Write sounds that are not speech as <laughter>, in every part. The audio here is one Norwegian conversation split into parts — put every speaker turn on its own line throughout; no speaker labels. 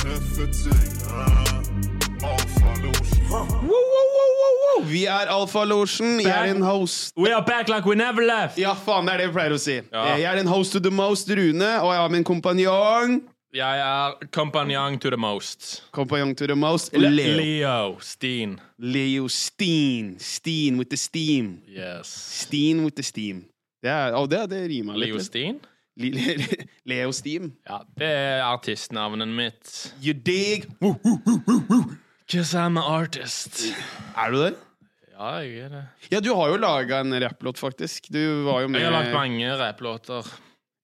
everything. Uh, Alpha Lotion.
Wow, wow, wow, wow, wow. Oh, Vi er Alfalosjen. Jeg er din host.
We are back like we never left!
Ja, faen, det er det vi pleier å si. Eh,
Ja.
Jeg er din host to the most, Rune, og jeg har min kompanjong
Jeg er kompanjong to the most.
Kompanjong to the most,
Le-
Leo.
Leo Steen.
Leo Steen. Steen with the steam.
Yes.
Steen with the steam. Det, er, å, det, det rimer litt.
Leo Steen?
Li- Leo Steam.
Ja, det er artistnavnet mitt.
You dig?
Cause I'm an artist.
Er du der?
Ja, jeg er det.
Ja, du har jo laga en rapplåt, faktisk. Du var jo med
Jeg har lagt mange rapplåter.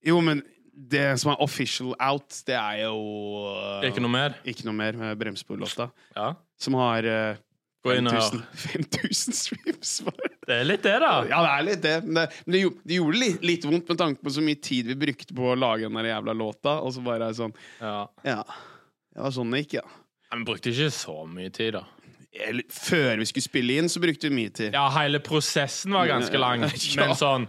Jo, men det som er official out, det er jo eh,
Det er ikke noe mer?
Ikke noe mer med Bremsespor-låta.
Ja.
Som har eh,
Gå inn og hør.
5000 <laughs> 5000 streams. bare.
Det er litt det, da.
Ja, det er litt det. Men det, men det, gjo- det gjorde litt, litt vondt med tanke på så mye tid vi brukte på å lage den der jævla låta, og så bare er det sånn
Ja.
Ja. Det var sånn det gikk, ja.
Men vi brukte ikke så mye tid, da.
Eller, før vi skulle spille inn, så brukte vi mye tid.
Ja, hele prosessen var ganske
<laughs>
lang,
Ja.
men sånn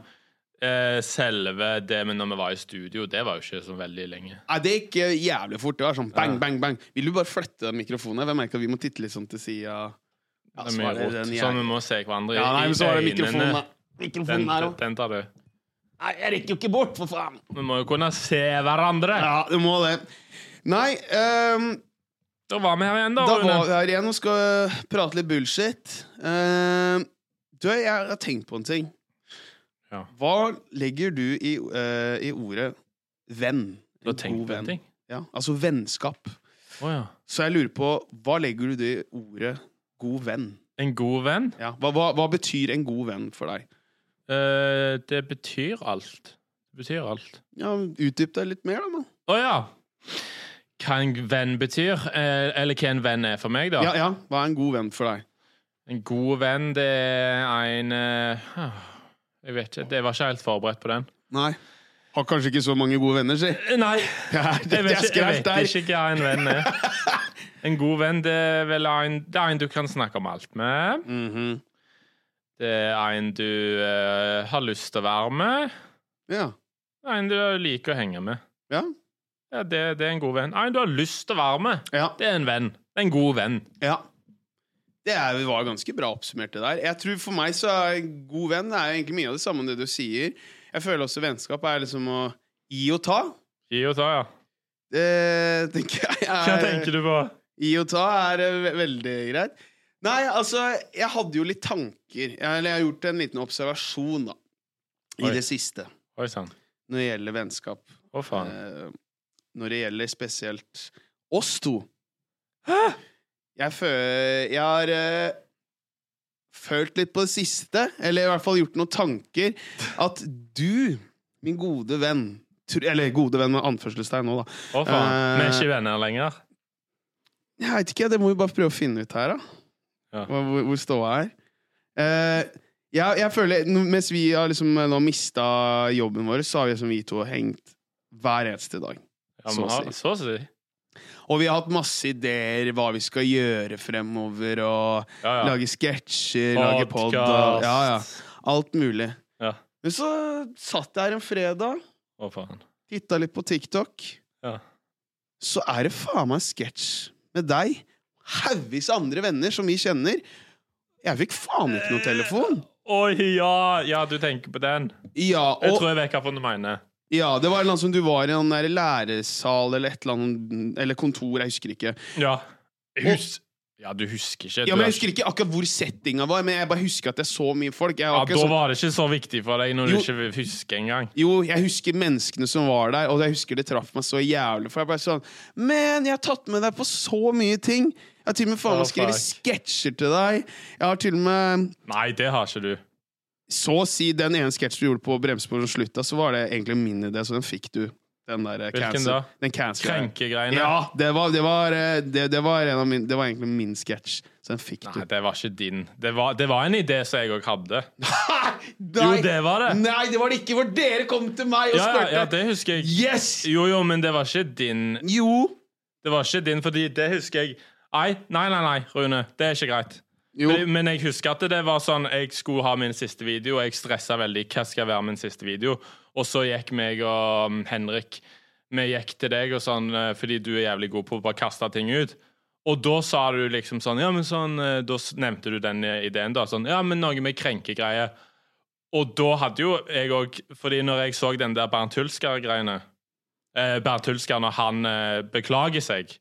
eh, Selve det med når vi var i studio, det var jo ikke så veldig lenge.
Nei, det gikk eh, jævlig fort. Det var sånn bang, bang, bang. Vil du bare flytte den mikrofonen? Jeg merker at vi må titte litt sånn til sida. Ja,
Det er
så
mye
var det
rot,
den
så
jævla-
vi må se hverandre i
Ja, nei, men så var det
i øynene.
mikrofonen da.
Den,
Mikrofonen her òg.
den tar du.
Nei, jeg rekker jo ikke bort, for faen.
Vi må jo kunne se hverandre.
Ja, du må det. Nei, ehm,
Da var vi her igjen, da.
da
Rune.
var vi her igjen og skal prate litt bullshit. Ehm, du, jeg har tenkt på en ting.
Ja.
Hva legger du i, eh, i ordet venn?
Du
En
har tenkt
god
på en ting?
Ja, altså vennskap.
Å ja.
Så jeg lurer på, hva legger du i ordet god venn?
En god venn?
Ja, hva, hva, hva betyr en god venn for deg?
Eh, det betyr alt. Det betyr alt.
Ja, Utdyp deg litt mer, da. mann.
Å ja. Hva en venn betyr, eh, eller hva en venn er for meg, da.
Ja, ja, Hva er en god venn for deg?
En god venn, det er en eh, Jeg vet ikke. Jeg var ikke helt forberedt på den.
Nei. Har kanskje ikke så mange gode
<laughs>
venner, si.
Eh,
<laughs>
Nei,
Ja, det
jeg vet,
er
ikke, jeg
skrevt
vet
der.
ikke hva en venn
<laughs>
er. En god venn det er vel en, det er en du kan snakke om alt med.
Mhm.
Det er en du eh, har lyst til å være med.
Ja.
Det er en du liker å henge med.
Ja.
Ja, det, det er en god venn. Ah, En du har lyst til å være med.
Ja.
Det er en venn. Det er en god venn.
ja. Det er, var ganske bra oppsummert, det der. Jeg tror For meg så er en god venn det er egentlig mye av det samme det du sier. Jeg føler også vennskap er liksom å gi og ta.
Gi og ta, ja.
Det tenker <laughs> jeg er
Hva tenker du på?
Gi og ta er eh, ve- veldig greit. Nei, altså, jeg hadde jo litt tanker. Jeg- Eller jeg har gjort en liten observasjon, da. I
Oi.
det siste.
Oi sann.
Når det gjelder vennskap.
Å, faen.
Eh, når det gjelder spesielt oss to. Jeg føler Jeg har eh, følt litt på det siste, eller i hvert fall gjort noen tanker, at du, min gode venn tr- Eller gode venn med anførselstegn nå, da.
Å, faen. Vi er
eh,
ikke venner lenger.
Jeg veit ikke, det må vi bare prøve å finne ut her, da.
Ja.
Hva- Hvor, hvor ståa er. Eh, jeg, jeg føler, nå- Mens vi har liksom eh, nå mista jobben vår, så har vi, liksom, vi to hengt hver eneste dag.
Ja,
så å
vi har,
si.
så å si.
Og vi har hatt masse ideer hva vi skal gjøre fremover, og
Ja, ja.
lage sketsjer, lage pod og
Podcast.
ja, ja. Alt mulig.
Ja.
Men så satt jeg her en fredag,
Å, faen.
titta litt på TikTok,
Ja.
så er det faen meg en sketsj med deg, haugvis av andre venner som vi kjenner. Jeg fikk faen ikke noen telefon!
Oi, ja! Ja, du tenker på den.
Ja, og
Jeg tror jeg vet hva du mener.
ja, det var en eller annen som du var i en der læresal eller et eller annet Eller kontor, jeg husker ikke.
Ja. Hus ja, du husker ikke.
Ja,
du
men
er
Jeg husker ikke akkurat hvor settinga var, men jeg bare husker at jeg så mye folk. Jeg
Ja,
var ikke
da
sånn,
var det ikke så viktig for deg når
Jo.
du ikke vil huske engang.
jo, jeg husker menneskene som var der, og jeg husker det traff meg så jævlig. For jeg bare sånn Men jeg har tatt med deg på så mye ting! Jeg har til og med faen
Å,
meg skrevet
fuck.
sketsjer til deg. Jeg har til og med
Nei, det har ikke du.
Så å si den ene sketsjen du gjorde på Bremsespor som slutta, så var det egentlig min idé, så den fikk du. Den der eh,
Hvilken
cancel.
da?
Den cancel.
Krenkegreiene.
Ja, det var, det, var, eh, det, det, var en av min, det var egentlig min sketsj, så den fikk
Nei,
du.
det var ikke din. Det var, det var en idé som jeg òg hadde.
Nei!
Jo, det var det.
<laughs> Nei, det var det ikke, for dere kom til meg og
Ja, ja,
spurte!
ja, det husker jeg.
Yes!
Jo, jo, men det var ikke din.
Jo.
Det var ikke din, fordi det husker jeg. Nei, nei, nei, nei Rune. Det er ikke greit.
Jo.
Men- Men jeg husker at det var sånn Jeg skulle ha min siste video, og jeg stressa veldig. Hva skal være min siste video? Og så gikk meg og um, mm, Henrik vi gikk til deg og sånn, eh, fordi du er jævlig god på å bare kaste ting ut. Og da sa du liksom sånn, ja, men sånn, eh, da s- nevnte du den eh, ideen da, sånn, ja, men noe med krenkegreier. Og da hadde jo jeg òg Fordi når jeg så den der Bernt Hulsker-greiene eh, Bernt Hulsker når han eh, beklager seg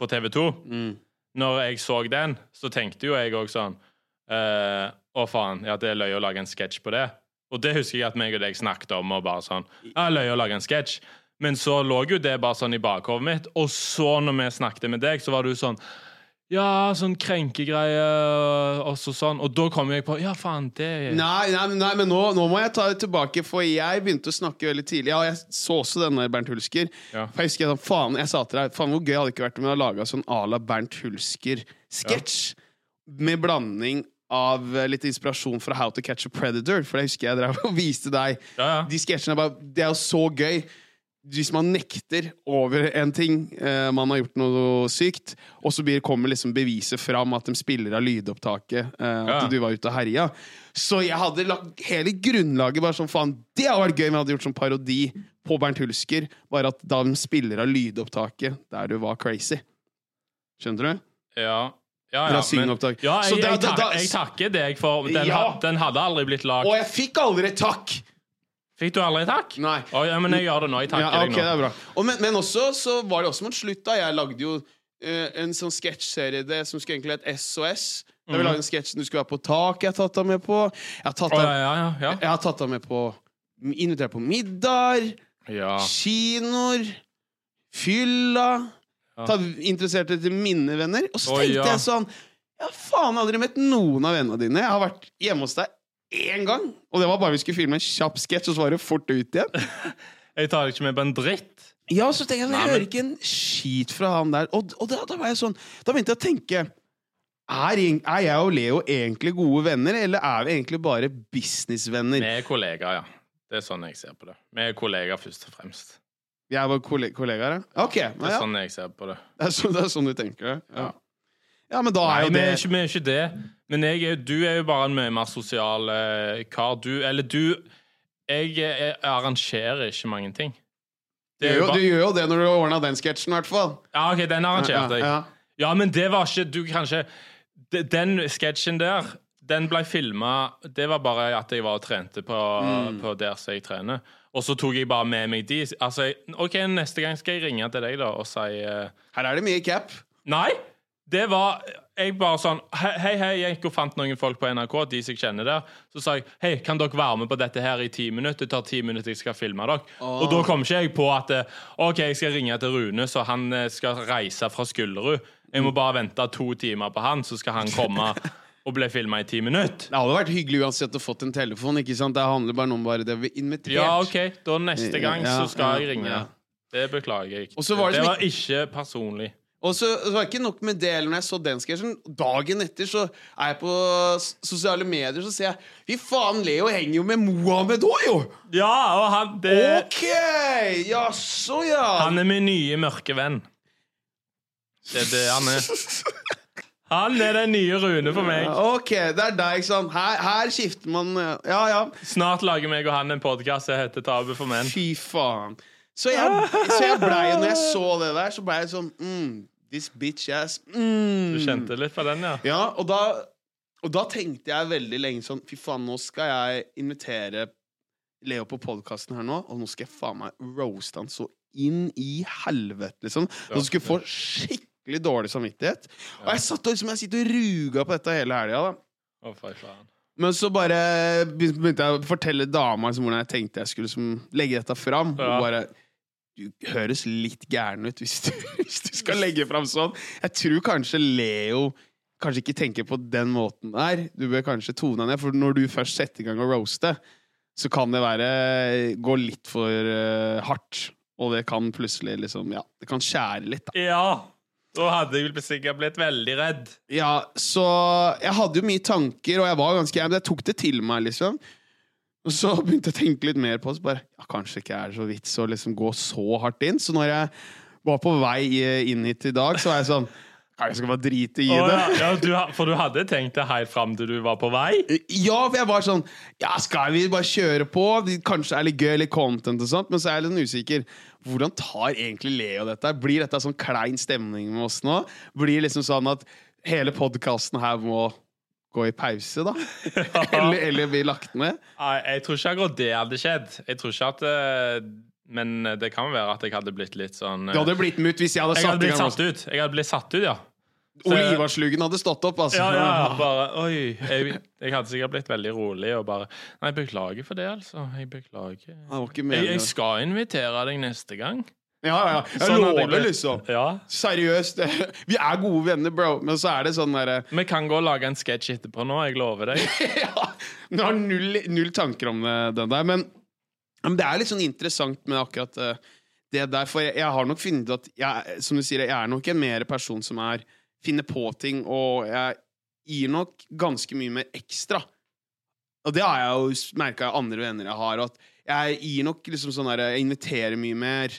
på TV 2
Mm.
Når jeg så den, så tenkte jo jeg òg sånn eh, Å, faen. Ja, det er løye å lage en sketsj på det. Og det husker jeg at meg og deg snakket om. og bare sånn, ja, løye å lage en sketsj. Men så lå jo det bare sånn i bakhovet mitt, og så, når vi snakket med deg, så var du sånn ja, sånn krenkegreier og så sånn. Og da kom jeg på Ja, faen, det
Nei, nei, nei, men nå, nå må jeg ta det tilbake, for jeg begynte å snakke veldig tidlig. Ja, og jeg så også denne Bernt Hulsker.
Ja.
For jeg husker jeg sånn, faen, jeg sa til deg, faen hvor gøy hadde det ikke vært om jeg hadde laga sånn à la Bernt Hulsker-sketsj. Med blanding av eh, litt inspirasjon fra How to Catch a Predator. For det husker jeg drev <laughs> og viste deg.
Ja, ja.
De sketsjene er bare Det er jo så gøy. Hvis man nekter over en ting, eh, man har gjort noe sykt, og så blir, kommer liksom beviset fram at de spiller av lydopptaket, eh, at
Ja.
du var ute og herja. Så jeg hadde lagt hele grunnlaget bare sånn faen, det hadde vært gøy om jeg hadde gjort sånn parodi på Bernt Hulsker, bare at da de spiller av lydopptaket der du var crazy. Skjønner du?
Ja. Ja,
Fra
ja,
syngeopptak.
ja jeg,
Så da-
jeg,
da- da-
tak- jeg takker deg, for den,
Ja.
ha- den hadde aldri blitt lagd.
Og jeg fikk aldri et takk!
Fikk du aldri takk?
Nei.
Å, ja, men jeg gjør det nå. Jeg takker
Ja, ok, det
deg nå.
er bra. Og men, men også så var det også mot slutt, da. Jeg lagde jo eh, en sånn sketsjserie det som skulle egentlig hett SOS. Der vi lagde en sketsj du skulle være på tak. Jeg har tatt deg med på. Jeg har tatt
Mhm. Å,
deg,
ja, ja, ja,
jeg har tatt deg med på Invitert på middag,
ja. ja.
kinoer, fylla
Ja.
ta, Interesserte til mine venner. Og så
Å,
tenkte
ja.
jeg sånn Jeg har faen aldri møtt noen av vennene dine. Jeg har vært hjemme hos deg én gang, og det var bare vi skulle filme en kjapp sketsj, og så var det fort ut igjen.
Jeg tar deg ikke med på en dritt.
Ja, så tenker jeg sånn,
Nei,
jeg
men-
hører ikke en skit fra han der. Og, og da, da var jeg sånn Da begynte jeg å tenke er, egent- er jeg og Leo egentlig gode venner, eller er vi egentlig bare
Vi
businessvenner?
er kollegaer, ja. Det er sånn jeg ser på det. Vi er kollegaer først og fremst.
Vi er bare kolle kollegaer, ja? Ok,
Det
ja,
er
ja.
sånn jeg ser på det.
Det, er sånn, det er sånn du tenker det? Ja. ja, men da er
Nei,
jo
vi
det
er ikke, vi er ikke det. Men jeg, er- du er jo bare en mye mer sosial eh, kar. Du Eller du Jeg, eh, arrangerer ikke mange ting.
du,
Det
gjør
er jo
jo, du
bare,
gjør jo det når du ordna den sketsjen, i hvert fall.
ja, OK, den
Ja,
arrangerte jeg.
ja.
Ja, men det var ikke Du, kanskje de- Den sketsjen der, den ble filma Det var bare at jeg var og trente på, på der som jeg trener. Og så tok jeg bare med meg de. Altså, jeg- OK, neste gang skal jeg ringe til deg da og si eh,
Her er det mye cap.
Nei! Det var jeg bare sånn Hei, hei, hei, jeg gikk og fant noen folk på NRK, de som jeg kjenner der. Så sa jeg hei, kan dere være med på dette her i ti minutter? Det tar ti minutter, jeg skal filme dere. Og da kom ikke jeg på at eh, OK, jeg skal ringe til Rune, så han eh, skal reise fra Skullerud. Jeg må bare vente to timer på han, så skal han
<laughs>
komme og bli filma i ti minutter.
Det hadde vært hyggelig uansett å fått en telefon. ikke sant? Det handler bare om bare det vi inviterte.
Ja, OK, da neste gang
Ja,
så skal
ja,
jeg ringe.
ja.
Det beklager jeg.
Og så var det
det
som
var ikke personlig.
Og så så var det ikke nok med det eller når jeg så den sketsjen. Dagen etter så er jeg på s- sosiale medier så ser jeg Fy faen, Leo henger jo med Mohammed òg, jo!
Ja, og han det,
Ok! Jaså, ja.
Han er min nye mørke venn. Det er det han er. Han er den nye Rune for meg.
Ok, det er deg, ikke sant. Her, her skifter man eh, Ja, ja.
Snart lager meg og han en podkast som heter Tabu for menn.
Fy faen. Så jeg, så jeg blei når jeg så det der, så blei jeg sånn mm, This bitch ass. Mm.
Du kjente litt på den, ja?
Ja, og da, og da tenkte jeg veldig lenge sånn Fy faen, nå skal jeg invitere Leo på podkasten her nå, og nå skal jeg faen meg roaste han så inn i helvete, liksom. Og så skulle jeg få skikkelig dårlig samvittighet. Og jeg satt og liksom, jeg sitter og ruga på dette hele helga, da.
Å, fy faen.
Men så bare begynte jeg å fortelle dama liksom, hvordan jeg tenkte jeg skulle liksom, legge dette fram.
Ja.
Og bare Du høres litt gæren ut hvis du, <laughs> hvis du skal legge fram sånn. Jeg tror kanskje Leo kanskje ikke tenker på den måten der. Du bør kanskje tone deg ned, for når du først setter i gang å roaste, så kan det være gå litt for eh, hardt. Og det kan plutselig liksom Ja, det kan skjære litt, da.
Ja! Da hadde jeg vel sikkert blitt veldig redd.
Ja, så jeg hadde jo mye tanker, og jeg var ganske Jeg tok det til meg, liksom. Og så begynte jeg å tenke litt mer på det. Så bare, ja, kanskje ikke er det så vits å liksom gå så hardt inn. Så når jeg var på vei eh, inn hit i dag, så var jeg sånn Nei, Jeg skal bare drite i
Å,
det.
ja. Ja, du, ha- for du hadde tenkt det helt fram til du var på vei?
Ja, for jeg var sånn Ja, skal vi bare kjøre på? Det Kanskje er litt gøy, litt content og sånt, men så er jeg litt sånn usikker. Hvordan tar egentlig Leo dette? Blir dette sånn klein stemning med oss nå? Blir det liksom sånn at hele podkasten her må gå i pause,
<laughs>
da? <laughs> eller, eller bli lagt ned?
Nei, jeg tror ikke akkurat det hadde skjedd. Jeg tror ikke at eh, Men det kan være at jeg hadde blitt litt sånn eh,
Det hadde blitt mutt hvis jeg hadde
Jeg hadde
satt i
blitt
gang.
satt ut. Jeg hadde blitt satt ut, ja.
Ole Ivarslugen hadde stått opp, altså.
Ja, ja, ja. <laughs> Bare, oi, jeg, jeg hadde sikkert blitt veldig rolig og bare Nei, beklager for det, altså. Jeg beklager.
Han var ikke
Jeg, jeg
meningen.
skal invitere deg neste gang.
Ja, ja, ja. Jeg
Sånn hadde jeg
lover,
blitt.
liksom.
Ja.
Seriøst. <laughs> Vi er gode venner, bro, men så er det sånn derre
Vi kan gå og lage en sketsj etterpå nå, jeg lover deg.
<laughs> ja, du har null, null tanker om eh, det, den der. Men, men det er litt sånn interessant med akkurat eh, det der. For jeg, jeg har nok funnet ut at jeg, som du sier, jeg er nok en mer person som er finner på ting, og jeg gir nok ganske mye mer ekstra. Og det har jeg jo merka av andre venner jeg har, at jeg gir nok liksom sånn der, jeg inviterer mye mer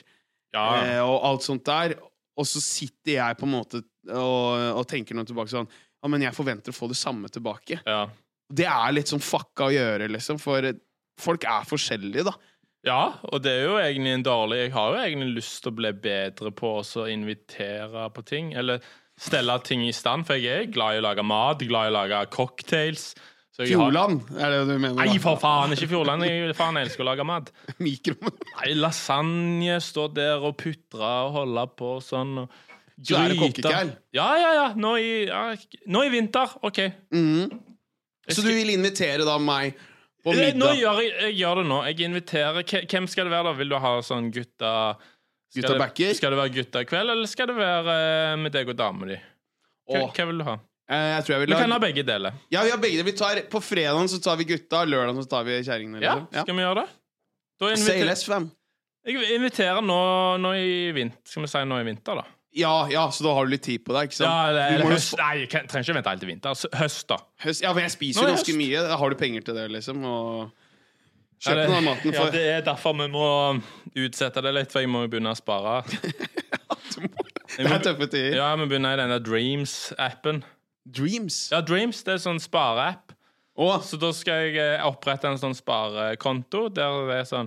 Ja.
eh, og alt sånt der. Og så sitter jeg på en måte og, og tenker noe tilbake sånn Ja, men jeg forventer å få det samme tilbake.
Ja.
Det er litt sånn fucka å gjøre, liksom, for folk er forskjellige, da.
ja, og det er jo egentlig en dårlig Jeg har jo egentlig lyst til å bli bedre på også å invitere på ting, eller stelle ting i stand, for jeg er glad i å lage mat, glad i å lage cocktails. Så jeg har-
Fjordland, er det du mener?
Nei,
da? <laughs>
for faen! Ikke Fjordland. Jeg, faen, jeg elsker å lage mat.
Mikroen.
Nei, lasagne, stå der og putre og holde på og sånn. Og
Så er det
gryter.
kokkekveld.
Ja, ja, ja. Nå i, ja. Nå i vinter. OK.
Mhm. Så du vil invitere da meg på
Eh, Nå
middag?
gjør jeg, jeg gjør det nå. Jeg inviterer K- Hvem skal det være, da? Vil du ha sånn gutta skal
Gutta
det-
backer?
Skal det være gutta i kveld, eller skal det være eh, med deg og dama di? Hva,
Åh,
hva vil du ha?
eh, jeg tror jeg vil
Vi kan
ha
ha begge deler.
Ja, vi har begge det. Vi tar, på fredagen så tar vi gutta, lørdagen så tar vi kjerringene.
Ja,
liksom.
skal vi gjøre det? Da
Ja. Say
inviterer,
less, fam.
jeg inviterer nå, nå i vinter. Skal vi si nå i vinter, da?
Ja, ja, så da har du litt tid på deg, ikke sant?
Ja, det,
Du
eller
må jo
høst.
få-
Nei, jeg kan- trenger ikke vente helt til vinter. Altså, Høst, da.
høst. Ja, for jeg spiser jo
Nå er
ganske
høst.
mye. Da Har du penger til det, liksom? Og
Ja,
kjøp
det-
noe av maten
Ja,
for
det er derfor vi må utsette det litt, for jeg må jo begynne
<laughs>
å spare.
<laughs> Det er tøffe tider.
Ja, vi begynner i denne Dreams-appen.
Dreams.
Ja, Dreams det er sånn spareapp.
Å,
Så da skal jeg eh, opprette en sånn sparekonto der det er sånn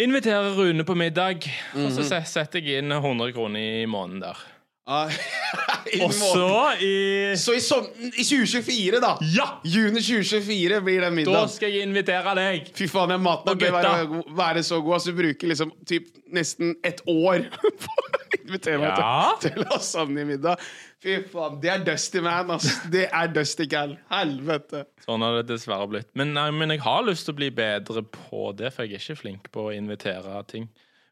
Inviterer Rune på middag, og
Mhm.
så se- setter jeg inn 100 kroner i måneden der.
ah, <laughs> i
Og
måten.
så i
Så i, som, i 2024, da.
Ja!
Juni 2024 blir den
Da
middagen.
skal jeg invitere deg.
Fy faen, den maten bør
Og gutta.
være, god- være så god. Altså, du bruker liksom typ, nesten et år <laughs> på å invitere meg
Ja.
<laughs> til, til lasagnemiddag. Fy faen, det er Dusty Man, ass. Det er Dusty Cal. Helvete.
Sånn har det dessverre blitt. Men, nei, men jeg har lyst til å bli bedre på det, for jeg er ikke flink på å invitere ting.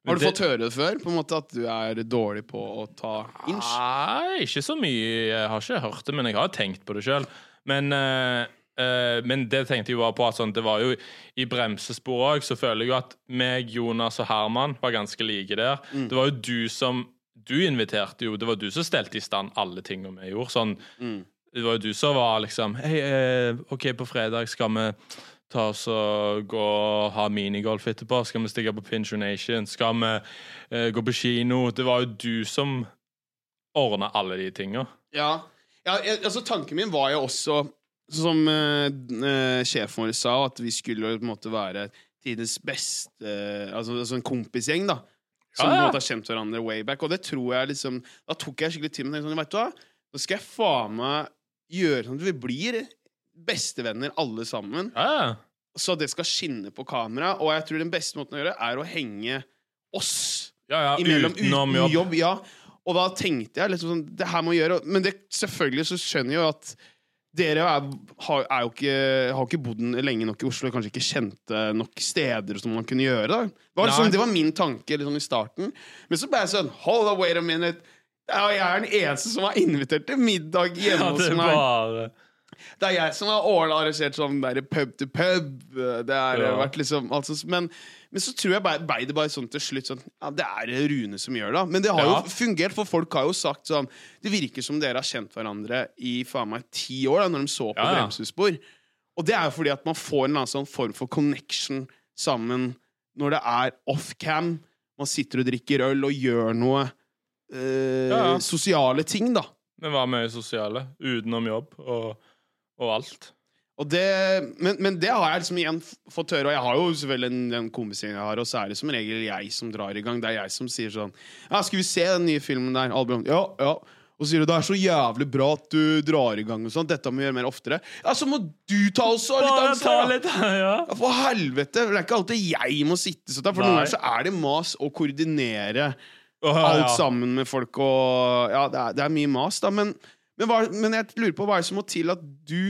Men
Har du
det-
fått høre det før? På en måte At du er dårlig på å ta inch?
Nei, ikke så mye. Jeg har ikke hørt det, men jeg har tenkt på det sjøl. Men, eh, eh, men det tenkte jeg bare på at sånn, det var jo i bremsesporet òg, så føler jeg jo at meg, Jonas og Herman var ganske like der. Det var jo du som Du inviterte jo, det var du som stelte i stand alle tinga vi gjorde. Sånn, Det var jo du som var liksom Hei, eh, OK, på fredag skal vi ta oss og gå og ha minigolf etterpå. Skal vi stikke på Pinch Nation? Skal vi eh, gå på kino? Det var jo du som ordne alle de tinga.
Ja. ja jeg, altså, tanken min var jo også, som eh, d- eh, sjefen vår sa, at vi skulle jo på en måte være tidens beste eh, altså, altså en kompisgjeng, da. Som
Ja, ja.
på en måte har kjent hverandre way back. Og det tror jeg liksom Da tok jeg skikkelig tid med det. Sånn, vet du hva? Nå skal jeg faen meg gjøre sånn at vi blir bestevenner alle sammen.
Ja.
Så det skal skinne på kamera. Og jeg tror den beste måten å gjøre det, er å henge oss
Ja, ja,
imellom
utenom
uten
jobb.
jobb. ja. Og da tenkte jeg liksom sånn Det her må jeg gjøre. Men det, selvfølgelig så skjønner jeg jo at dere er, har, er jo ikke, har ikke bodd lenge nok i Oslo og kanskje ikke kjente nok steder som man kunne gjøre. Da. Det, var
Nei.
liksom, det var min tanke liksom, i starten. Men så ble jeg sånn Hold on, wait a minute. Ja, Jeg er den eneste som har invitert til middag hjemme
<laughs> Ja, det
hos
er
meg.
bare
Det er jeg som har ordna arrangert sånn der pub to pub. Det har
Ja.
vært liksom alt sånt. men, men så tror jeg bare, ble det bare sånn til slutt sånn Ja, det er Rune som gjør det. da. Men det har
Ja.
jo fungert, for folk har jo sagt sånn Det virker som dere har kjent hverandre i faen meg ti år, da, når de så på
Ja, ja.
Bremsespor. Og det er jo fordi at man får en eller annen sånn form for connection sammen når det er off-cam. Man sitter og drikker øl og gjør noe eh,
Ja, ja.
sosiale ting, da.
Vi var mye sosiale utenom jobb og, og alt.
Og det, men, men det har jeg liksom igjen f- fått høre, og jeg har jo selvfølgelig den, den kompisgjengen jeg har, og så er det som regel jeg som drar i gang. Det er jeg som sier sånn Ja, skal vi se den nye filmen der? Alle blir sånn, Ja, ja. Og så sier du det er så jævlig bra at du drar i gang og sånn. Dette må vi gjøre mer oftere. Ja, så må du ta også litt
Bare ta
ansvar! da.
litt, <laughs> ja.
Ja, For helvete! Det er ikke alltid jeg må sitte sånn. For noen
Nei.
ganger så er det mas å koordinere
Åh,
alt
ja.
sammen med folk og Ja, det er, det er mye mas, da, men, men, hva, men jeg lurer på hva er det som må til at du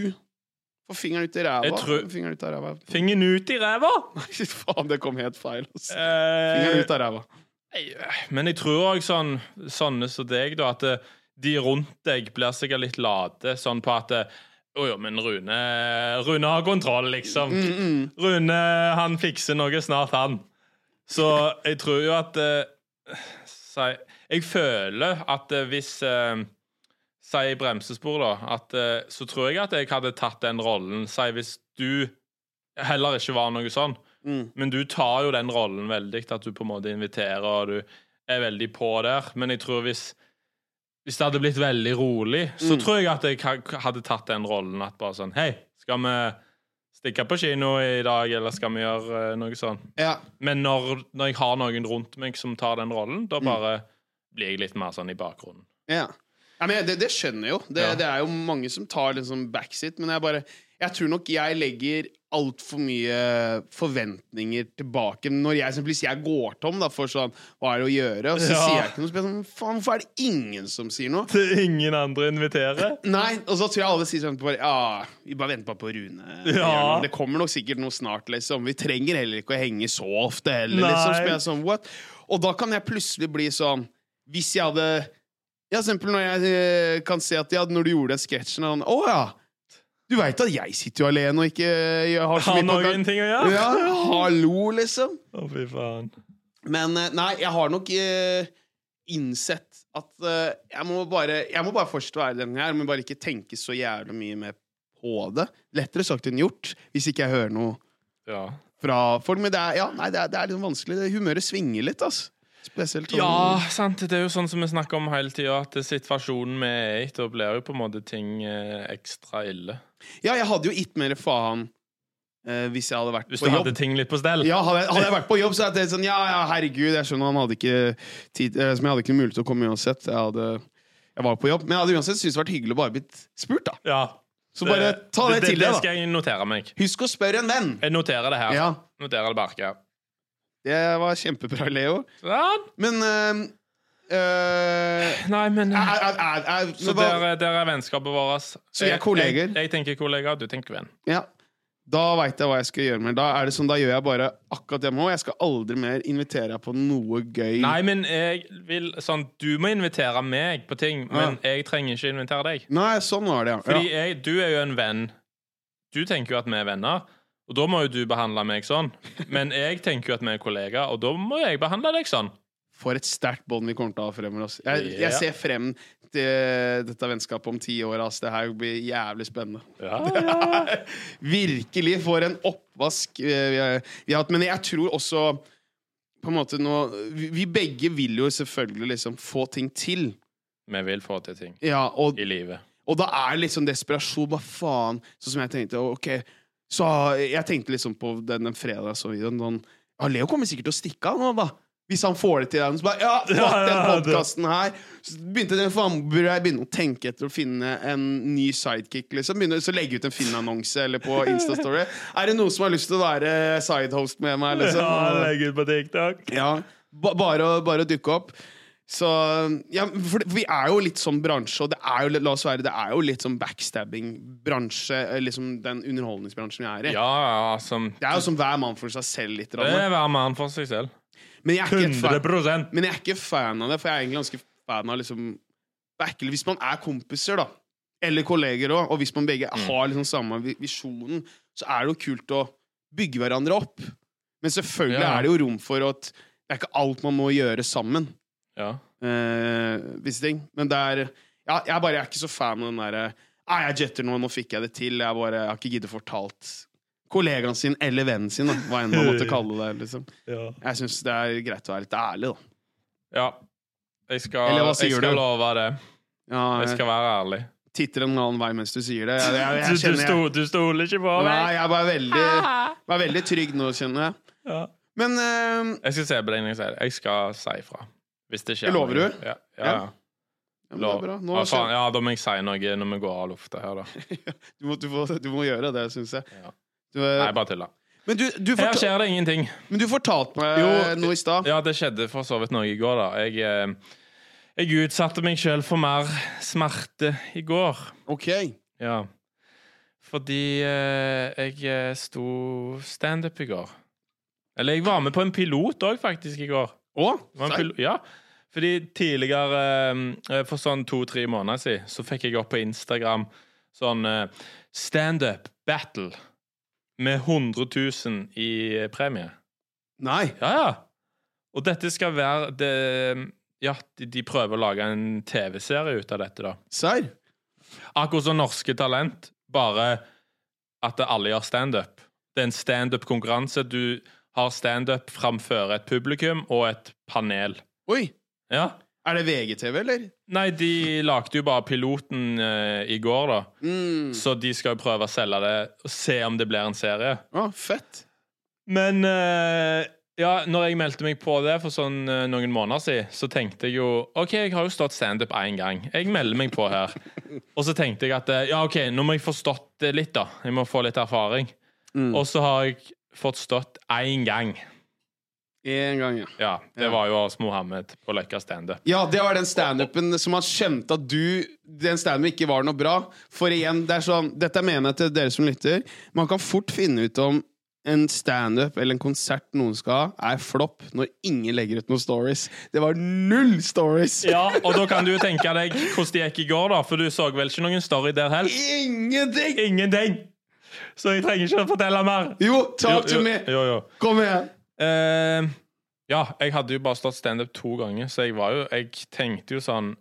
får fingeren ut i ræva?
Jeg tror-
Fingeren ut av ræva. <laughs>
Fingeren ut i ræva!
Fy faen, det kom helt feil, altså. Fingeren
Eh,
ut av ræva.
men jeg tror òg sånn, sånne som deg, da, at eh, de rundt deg blir sikkert litt late sånn på at eh, å ja, men Rune Rune har kontroll,
Mm,
liksom. Rune, han fikser noe snart, han. Så jeg tror jo at eh, Si Jeg føler at eh, hvis eh, Si bremsespor, da. At, eh, så tror jeg at jeg hadde tatt den rollen. Si hvis du heller ikke var noe sånn.
Mm.
Men du tar jo den rollen veldig, at du på en måte inviterer og du er veldig på der. Men jeg tror hvis hvis det hadde blitt veldig rolig, så
Mm.
tror jeg at jeg ha- hadde tatt den rollen. At bare sånn Hei, skal vi stikke på kino i dag, eller skal vi gjøre eh, noe sånn?
Ja.
Men når, når jeg har noen rundt meg som tar den rollen, da bare blir jeg litt mer sånn i bakgrunnen.
Ja. ja men det, det skjønner jeg jo. Det,
Ja.
det er jo mange som tar liksom backseat, men jeg bare Jeg tror nok jeg legger altfor mye forventninger tilbake. Når jeg eksempelvis jeg går tom da, for sånn Hva er det å gjøre? Og så
Ja.
sier jeg ikke noe, så blir jeg sånn Faen, hvorfor er det ingen som sier noe?
Til <laughs> ingen andre inviterer?
Nei, og så tror jeg alle sier sånn bare, Ja, vi bare venter bare på Rune. Det
Ja.
gjør noe. Det kommer nok sikkert noe snart, liksom. Vi trenger heller ikke å henge så ofte heller,
Nei.
liksom. Så blir jeg sånn, what? Og da kan jeg plutselig bli sånn Hvis jeg hadde Ja, for eksempel når jeg eh, kan se at ja, når du gjorde den sketsjen og sånn, Å ja! Du veit at jeg sitter jo alene og ikke eh, har så
Har
mye på gang.
noen ting å gjøre?
Ja, hallo, liksom.
Å, fy faen.
Men eh, nei, jeg har nok eh, innsett at eh, jeg, må bare, jeg må bare fortsette å være den jeg er, men bare ikke tenke så jævlig mye mer på det. Lettere sagt enn gjort, hvis ikke jeg hører noe
Ja.
fra folk. Men det er, ja, nei, det er, det er liksom vanskelig. Det, humøret svinger litt, altså. Spesielt sånn
Ja, sant. Det er jo sånn som vi snakker om hele tida, at situasjonen vi er i, da blir jo på en måte ting eh, ekstra ille.
Ja, jeg hadde jo gitt mer faen eh, hvis jeg hadde vært
Hvis
på
du
jobb.
hadde ting litt på stell.
Ja, hadde jeg, hadde jeg vært på jobb, så hadde jeg tenkt sånn Ja, ja, herregud, jeg skjønner han hadde ikke tid eh, Som jeg hadde ikke mulighet til å komme uansett. Jeg, hadde, jeg var på jobb. Men jeg hadde uansett syntes det vært hyggelig å bare blitt spurt, da.
Ja.
Så bare ta det, til
det
deg, da.
skal jeg notere meg.
Husk å spørre en venn!
Jeg noterer det her.
Ja,
Noterer det bak her.
det var kjempebra, Leo.
Sånn.
Men eh, <laughs> eh,
Nei, men
er, er, er, er,
Så
men
der,
hva-
er- der er vennskapet vårt.
Så vi er
Jeg-
kolleger?
Jeg, jeg tenker kollegaer, du tenker venn.
ja, Da veit jeg hva jeg skal gjøre med Da er det sånn, da gjør jeg bare akkurat det jeg må. Jeg skal aldri mer invitere deg på noe gøy.
Nei, men jeg vil sånn Du må invitere meg på ting, men jeg trenger ikke invitere deg.
Nei, sånn var det, ja.
Fordi
ja.
jeg, du er jo en venn. Du tenker jo at vi er venner, og da må jo du behandle meg sånn. Men jeg tenker jo at vi er kollegaer, og da må jeg behandle deg sånn.
For et sterkt bånd vi kommer til å ha fremover. ass. Jeg,
Ja.
jeg ser frem til dette vennskapet om ti år. Ass. Det her blir jævlig spennende.
Ja, ja.
Virkelig for en oppvask eh, vi har, vi har hatt. Men jeg tror også på en måte nå, vi, vi begge vil jo selvfølgelig liksom få ting til.
Vi vil få til ting
Ja, og,
i livet.
og da er det liksom desperasjon. Hva faen? Sånn som jeg tenkte. Ok, så jeg tenkte liksom på den, den fredag jeg så videoen. Sånn, ja, Leo kommer sikkert til å stikke av nå, da. Hvis han får det til. Og Så bare, ja, fuck
Ja,
den
ja, det-
podcasten her Så begynte den faen, burde jeg begynne å tenke etter å finne en ny sidekick. Liksom. Begynne, så legge ut en Finn-annonse eller på Instastory. Er det noen som har lyst til å være sidehost med meg? Liksom?
legg ut på TikTok.
Ja, ba bare, å- bare å dukke opp. Så, ja, for, det- for vi er jo litt sånn bransje, og det er jo, litt- la oss være, det er jo litt sånn backstabbing-bransje, eh, liksom den underholdningsbransjen vi er i.
Ja, som
Det er jo som hver mann for seg selv litt.
Det
Ranne.
er hver mann for seg selv.
Men jeg, er ikke et fan,
100
men jeg er ikke fan av det, for jeg er egentlig ganske fan av liksom backle. Hvis man er kompiser, da, eller kolleger òg, og hvis man begge
Mm.
har liksom samme vi- visjonen, så er det jo kult å bygge hverandre opp. Men selvfølgelig
Ja.
er det jo rom for at det er ikke alt man må gjøre sammen.
Ja.
eh, visse ting. Men det er ja, Jeg bare er ikke så fan av den derre Nei, jeg jetter nå, nå fikk jeg det til. Jeg, bare, jeg har ikke giddet fortalt kollegaen sin eller vennen sin, da, hva enn man måtte kalle det. Liksom.
<laughs> ja.
Jeg syns det er greit å være litt ærlig, da.
Jeg skal,
Eller hva
jeg
sier
skal
du?
love det.
Ja,
Jeg skal være ærlig.
titter en annen vei mens du sier det. Jeg, jeg,
Du,
jeg
du,
kjenner jeg,
sto, du stoler ikke på
Nei,
meg?
jeg var veldig, var veldig trygg nå, kjenner jeg.
Ja.
Men eh,
Jeg skal se på deg når jeg sier det. Jeg skal si ifra. Hvis det skjer
Det lover
noe.
du?
Ja. ja, ja.
ja, men det er bra. Nå,
ja, faen, ja, da må jeg si noe når vi går av lufta her, da.
du, må, du, må, du må gjøre det, syns jeg.
Ja.
Du, eh,
Nei, bare tulla.
men, du, du
Her
fortal,
skjer det ingenting.
men du fortalte meg
Jo,
noe i stad.
Ja, det skjedde for så vidt noe i går, da. Jeg, eh, jeg utsatte meg sjøl for mer smerte i går.
Ok.
Ja. Fordi eh, jeg eh, sto standup i går. Eller jeg var med på en pilot òg, faktisk, i går.
Å?
Det var en
Sei.
pil- ja. Fordi tidligere, eh, for sånn to-tre måneder siden, så fikk jeg opp på Instagram sånn eh, standup battle med 100 000 i eh, premie.
Nei.
Ja, ja. Og dette skal være det, Ja, de, de prøver å lage en TV-serie ut av dette, da.
Serr?
Akkurat som Norske Talent, bare at det alle gjør standup. Det er en standup-konkurranse. Du har standup framfor et publikum og et panel.
Oi.
Ja.
Er det VGTV, eller?
Nei, de lagde jo bare piloten eh, i går, da.
Mm.
Så de skal jo prøve å selge det og se om det blir en serie.
Å, fett.
Men eh, ja, når jeg meldte meg på det for sånn eh, noen måneder siden, så tenkte jeg jo OK, jeg har jo stått standup én gang. Jeg melder meg på
<laughs>
her. Og så tenkte jeg at eh, ja, OK, nå må jeg få stått det litt, da. Jeg må få litt erfaring.
Mm.
Og så har jeg fått stått én gang.
En gang, ja.
Ja, det
Ja.
var jo hos Mohammed på Løkka standup.
Ja, det var den standupen som han skjønte at du Den standupen ikke var noe bra. For igjen, det er sånn Dette mener jeg til dere som lytter. Man kan fort finne ut om en standup eller en konsert noen skal ha, er flopp når ingen legger ut noen stories. Det var null stories!
Ja, og da kan du jo tenke deg hvordan det gikk i går, da, for du så vel ikke noen story der heller?
Ingenting!
Ingenting! Så jeg trenger ikke å fortelle mer.
Jo, talk to
Jo, jo,
me!
Jo, jo.
Kom igjen!
Eh, ja, jeg hadde jo bare stått standup to ganger, så jeg var jo Jeg tenkte jo sånn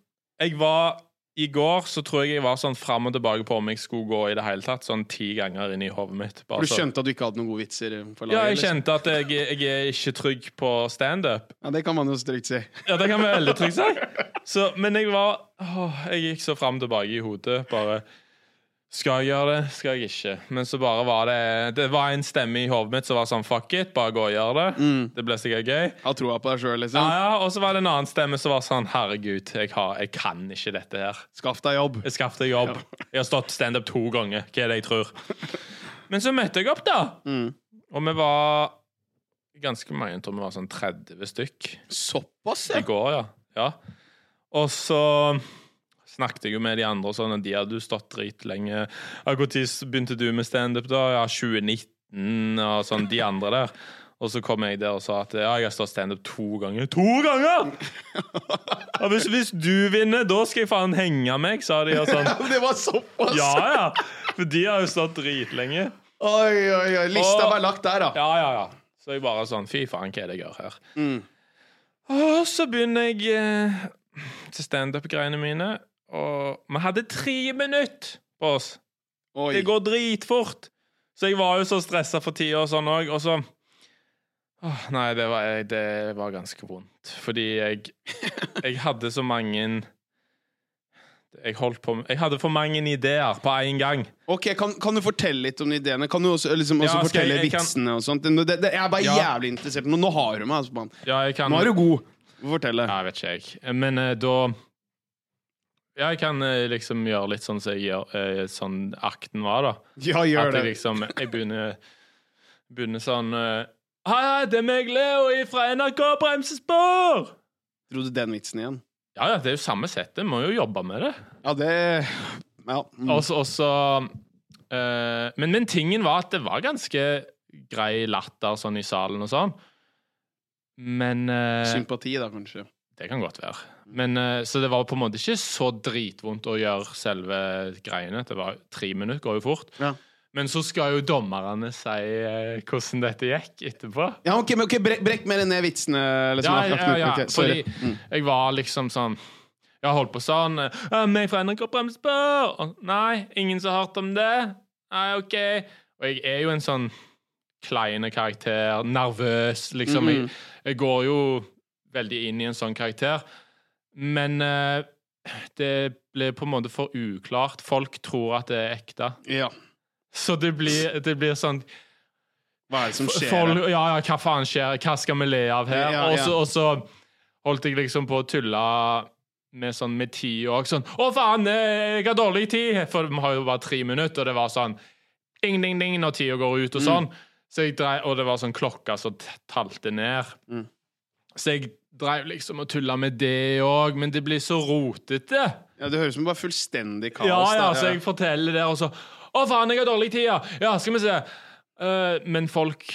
Jeg var I går så tror jeg jeg var sånn fram og tilbake på om jeg skulle gå i det hele tatt, sånn ti ganger inn i hodet mitt. Bare
Du
så-
skjønte at du ikke hadde noen gode vitser? For laget,
Altså. Ja, jeg
liksom.
kjente at jeg, jeg er ikke trygg på standup.
ja, Det kan man jo strykt si.
Ja, det kan vi veldig trygt si. Så, men jeg var åh, Jeg gikk så fram og tilbake i hodet. Bare Skal jeg gjøre det? Skal jeg ikke? Men så bare var det Det var en stemme i hodet mitt som var sånn fuck it, bare gå og gjør det. Det ble sikkert gøy.
Ha troa på deg sjøl,
Ja,
liksom.
ja, Og så var det en annen stemme som var sånn herregud, jeg, har, jeg kan ikke dette her.
Skaff deg jobb.
Jeg Skaff deg jobb. Jeg har stått standup to ganger. Hva er det jeg tror? Men så møtte jeg opp, da.
Mm.
Og vi var ganske mange. Jeg tror vi var sånn 30 stykk
Såpass,
i
ja!
går, ja. ja. Og så snakket jeg jo med de andre, og sånn, og de hadde jo stått dritlenge. Når begynte du med standup, da? Ja, 2019, og sånn. De andre der. Og så kom jeg der og sa at ja, jeg har stått standup to ganger. To ganger! Og hvis, hvis du vinner, da skal jeg faen henge meg, sa de. og sånn.
<laughs> Det var såpass!
Ja, ja. For de har jo stått dritlenge.
Oi, oi, oi. Lista
Og-
var lagt der, da.
Ja, ja, ja. Så jeg bare sånn Fy faen, hva er det jeg gjør her?
Mm.
Og så begynner jeg eh, til standup-greiene mine, og vi hadde tre minutter på oss.
Oi.
Det går dritfort. Så jeg var jo så stressa for tida og sånn òg, og så Åh, Nei, det var, jeg- det var ganske vondt. Fordi <laughs> jeg, jeg hadde så mange jeg, holdt på, jeg hadde for mange ideer på én gang.
Ok, kan, kan du fortelle litt om de ideene? Kan du også, liksom, også
Ja, skal
fortelle
jeg- jeg kan-
vitsene og sånt? Det, det, jeg er bare
Ja.
jævlig interessert. Nå, nå har du meg, altså, mann.
Ja, jeg kan,
Nå er du god. Fortelle.
Ja, jeg vet ikke, jeg. Men eh, da Ja, jeg kan eh, liksom gjøre litt sånn som jeg gjør, eh, sånn akten var, da.
Ja, gjør
At jeg
det.
liksom Jeg begynner, begynner sånn eh, Hei, hei, det er meg, Leo, fra NRK Bremsespor!
Dro du den vitsen igjen?
Ja, ja, det er jo samme settet. Må jo jobbe med det.
Ja, det Ja. Mm.
Og så- og så, eh, men, men tingen var at det var ganske grei latter sånn i salen og sånn. Men eh,
Sympati, da, kanskje.
Det kan godt være. Men, eh, så det var på en måte ikke så dritvondt å gjøre selve greiene. Det var Tre minutter går jo fort.
Ja.
Men så skal jo dommerne si eh, hvordan dette gikk etterpå.
Ja, ok, men ok, brekk, brekk mer ned vitsene. Liksom,
Ja,
Aften
ja,
Aften.
ja.
Ok,
Fordi
sorry. Mm.
jeg var liksom sånn Jeg har holdt på sånn eh, «Ja, meg fra NRK Bremsespor! Og, Nei, ingen som har hørt om det? Nei, OK. Og jeg er jo en sånn kleine karakter. Nervøs, liksom. jeg, jeg går jo veldig inn i en sånn karakter. Men eh, det blir på en måte for uklart. Folk tror at det er ekte.
Ja.
Så det blir, det blir sånn
Hva er det som skjer?
folk, Ja, ja, hva faen skjer? Hva skal vi le av her?
Ja,
Og, så,
ja.
og så holdt jeg liksom på å tulle med sånn med tid òg. Sånn 'Å, faen, eh, jeg har dårlig tid!' For vi har jo bare tre minutter, og det var sånn ding, ding, ding når tida går
Mm.
ut, og sånn. Så jeg drev, og det var sånn klokka som t- talte ned.
Mm.
Så jeg drev liksom og tulla med det òg, men det blir så rotete.
Ja, det høres ut som bare fullstendig kaos.
Ja,
da.
ja, så jeg forteller det, og så Å, faen, jeg har dårlig tid, ja! Ja, skal vi se. Eh, men folk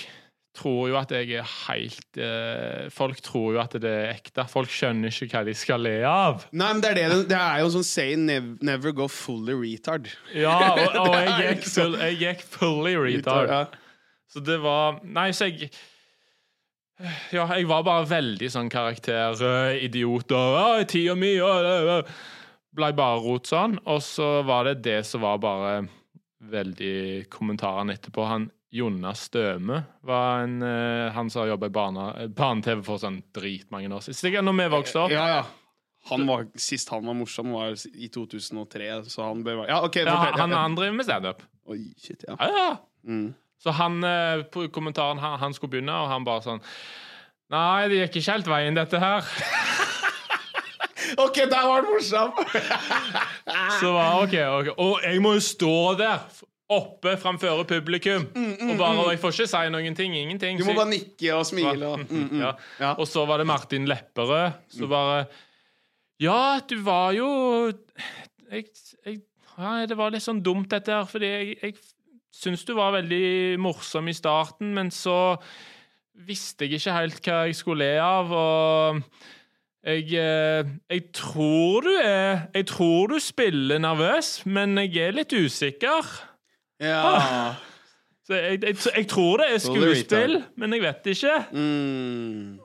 tror jo at jeg er helt eh, Folk tror jo at det er ekte. Folk skjønner ikke hva de skal le av.
Nei, men det er, det, det er jo sånn say nev, never go fully retard.
Ja, og, <laughs> og jeg,
Det er
gikk full, jeg gikk fully retard.
Ja.
Så det var Nei, så jeg Ja, jeg var bare veldig sånn karakter øh, Idiot og «Å, tida mi og øh, øh». Blei bare rot sånn. Og så var det det som var bare veldig kommentaren etterpå. Han Jonas Støme var en øh, Han som har jobba i barne- barne-TV for sånn dritmange år siden. Sikkert når vi vokste opp.
ja, ja. Han var, sist han var morsom, var i 2003, så han bør være Ja, OK.
Ja,
fortell.
han, han driver med standup.
Oi, shit, ja.
Ja, ja.
Mm.
Så han, eh, på kommentaren, han, han skulle begynne, og han bare sånn Nei, det gikk ikke helt veien, dette her.
OK, der var han morsom!
Så var OK. ok. Og jeg må jo stå der, f- oppe framfor publikum, og bare og Jeg får ikke si noen ting. Ingenting.
Mm, Du
så
må
jeg-
bare nikke og smile og mm, mm.
ja.
Ja.
Og så var det Martin Lepperød, så bare Ja, du var jo jeg, jeg, ja, Det var litt sånn dumt, dette her, fordi jeg, jeg syns du var veldig morsom i starten, men så visste jeg ikke helt hva jeg skulle le av, og jeg, eh, jeg tror du er Jeg tror du spiller nervøs, men jeg er litt usikker.
Ja.
Så jeg, jeg, jeg tror det er
Totally
skuespill,
retard.
men jeg vet ikke.
Mm.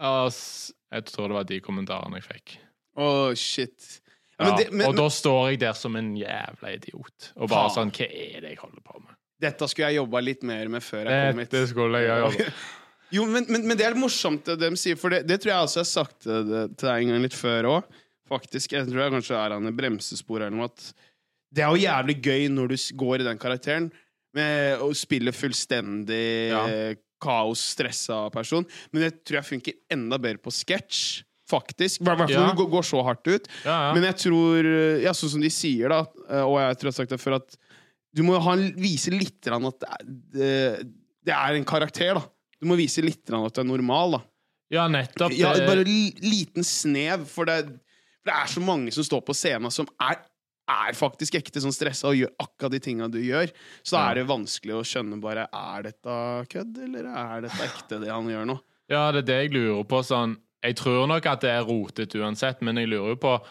Ja, s- Jeg tror det var de kommentarene jeg fikk.
Å, shit. Ja,
Ja,
men det, men,
og da står jeg der som en jævla idiot og bare sånn
Faen.
Hva er det jeg holder på med?
dette skulle jeg jobba litt mer med før jeg kom hit.
Dette skulle
<laughs>
jeg gjøre.
Jo, men, men, men det er litt morsomt det de sier, for det, det tror jeg også jeg har sagt til det- til deg en gang litt før òg. Faktisk. Jeg tror jeg kanskje er han i bremsespor eller noe. At det er jo jævlig gøy når du s- går i den karakteren, med å spille fullstendig
Ja.
eh, kaos, stressa person. Men det tror jeg funker enda bedre på sketsj, faktisk. I hvert fall
Ja.
når du går- går så hardt ut.
Ja, ja.
Men jeg tror, eh, ja, sånn som de sier, da, eh, og jeg tror jeg har sagt det før, at du må ha, en- vise litt grann at det er, det, det er en karakter, da. Du må vise litt grann at du er normal, da.
Ja, nettopp.
Ja,
det-
bare li, liten snev, for det, for det er så mange som står på scenen som er, er faktisk ekte sånn stressa og gjør akkurat de tinga du gjør. Så da
Ja.
er det vanskelig å skjønne bare Er dette kødd, eller er dette ekte, det han gjør nå?
ja, det er det jeg lurer på. Sånn Jeg tror nok at det er rotet uansett, men jeg lurer jo på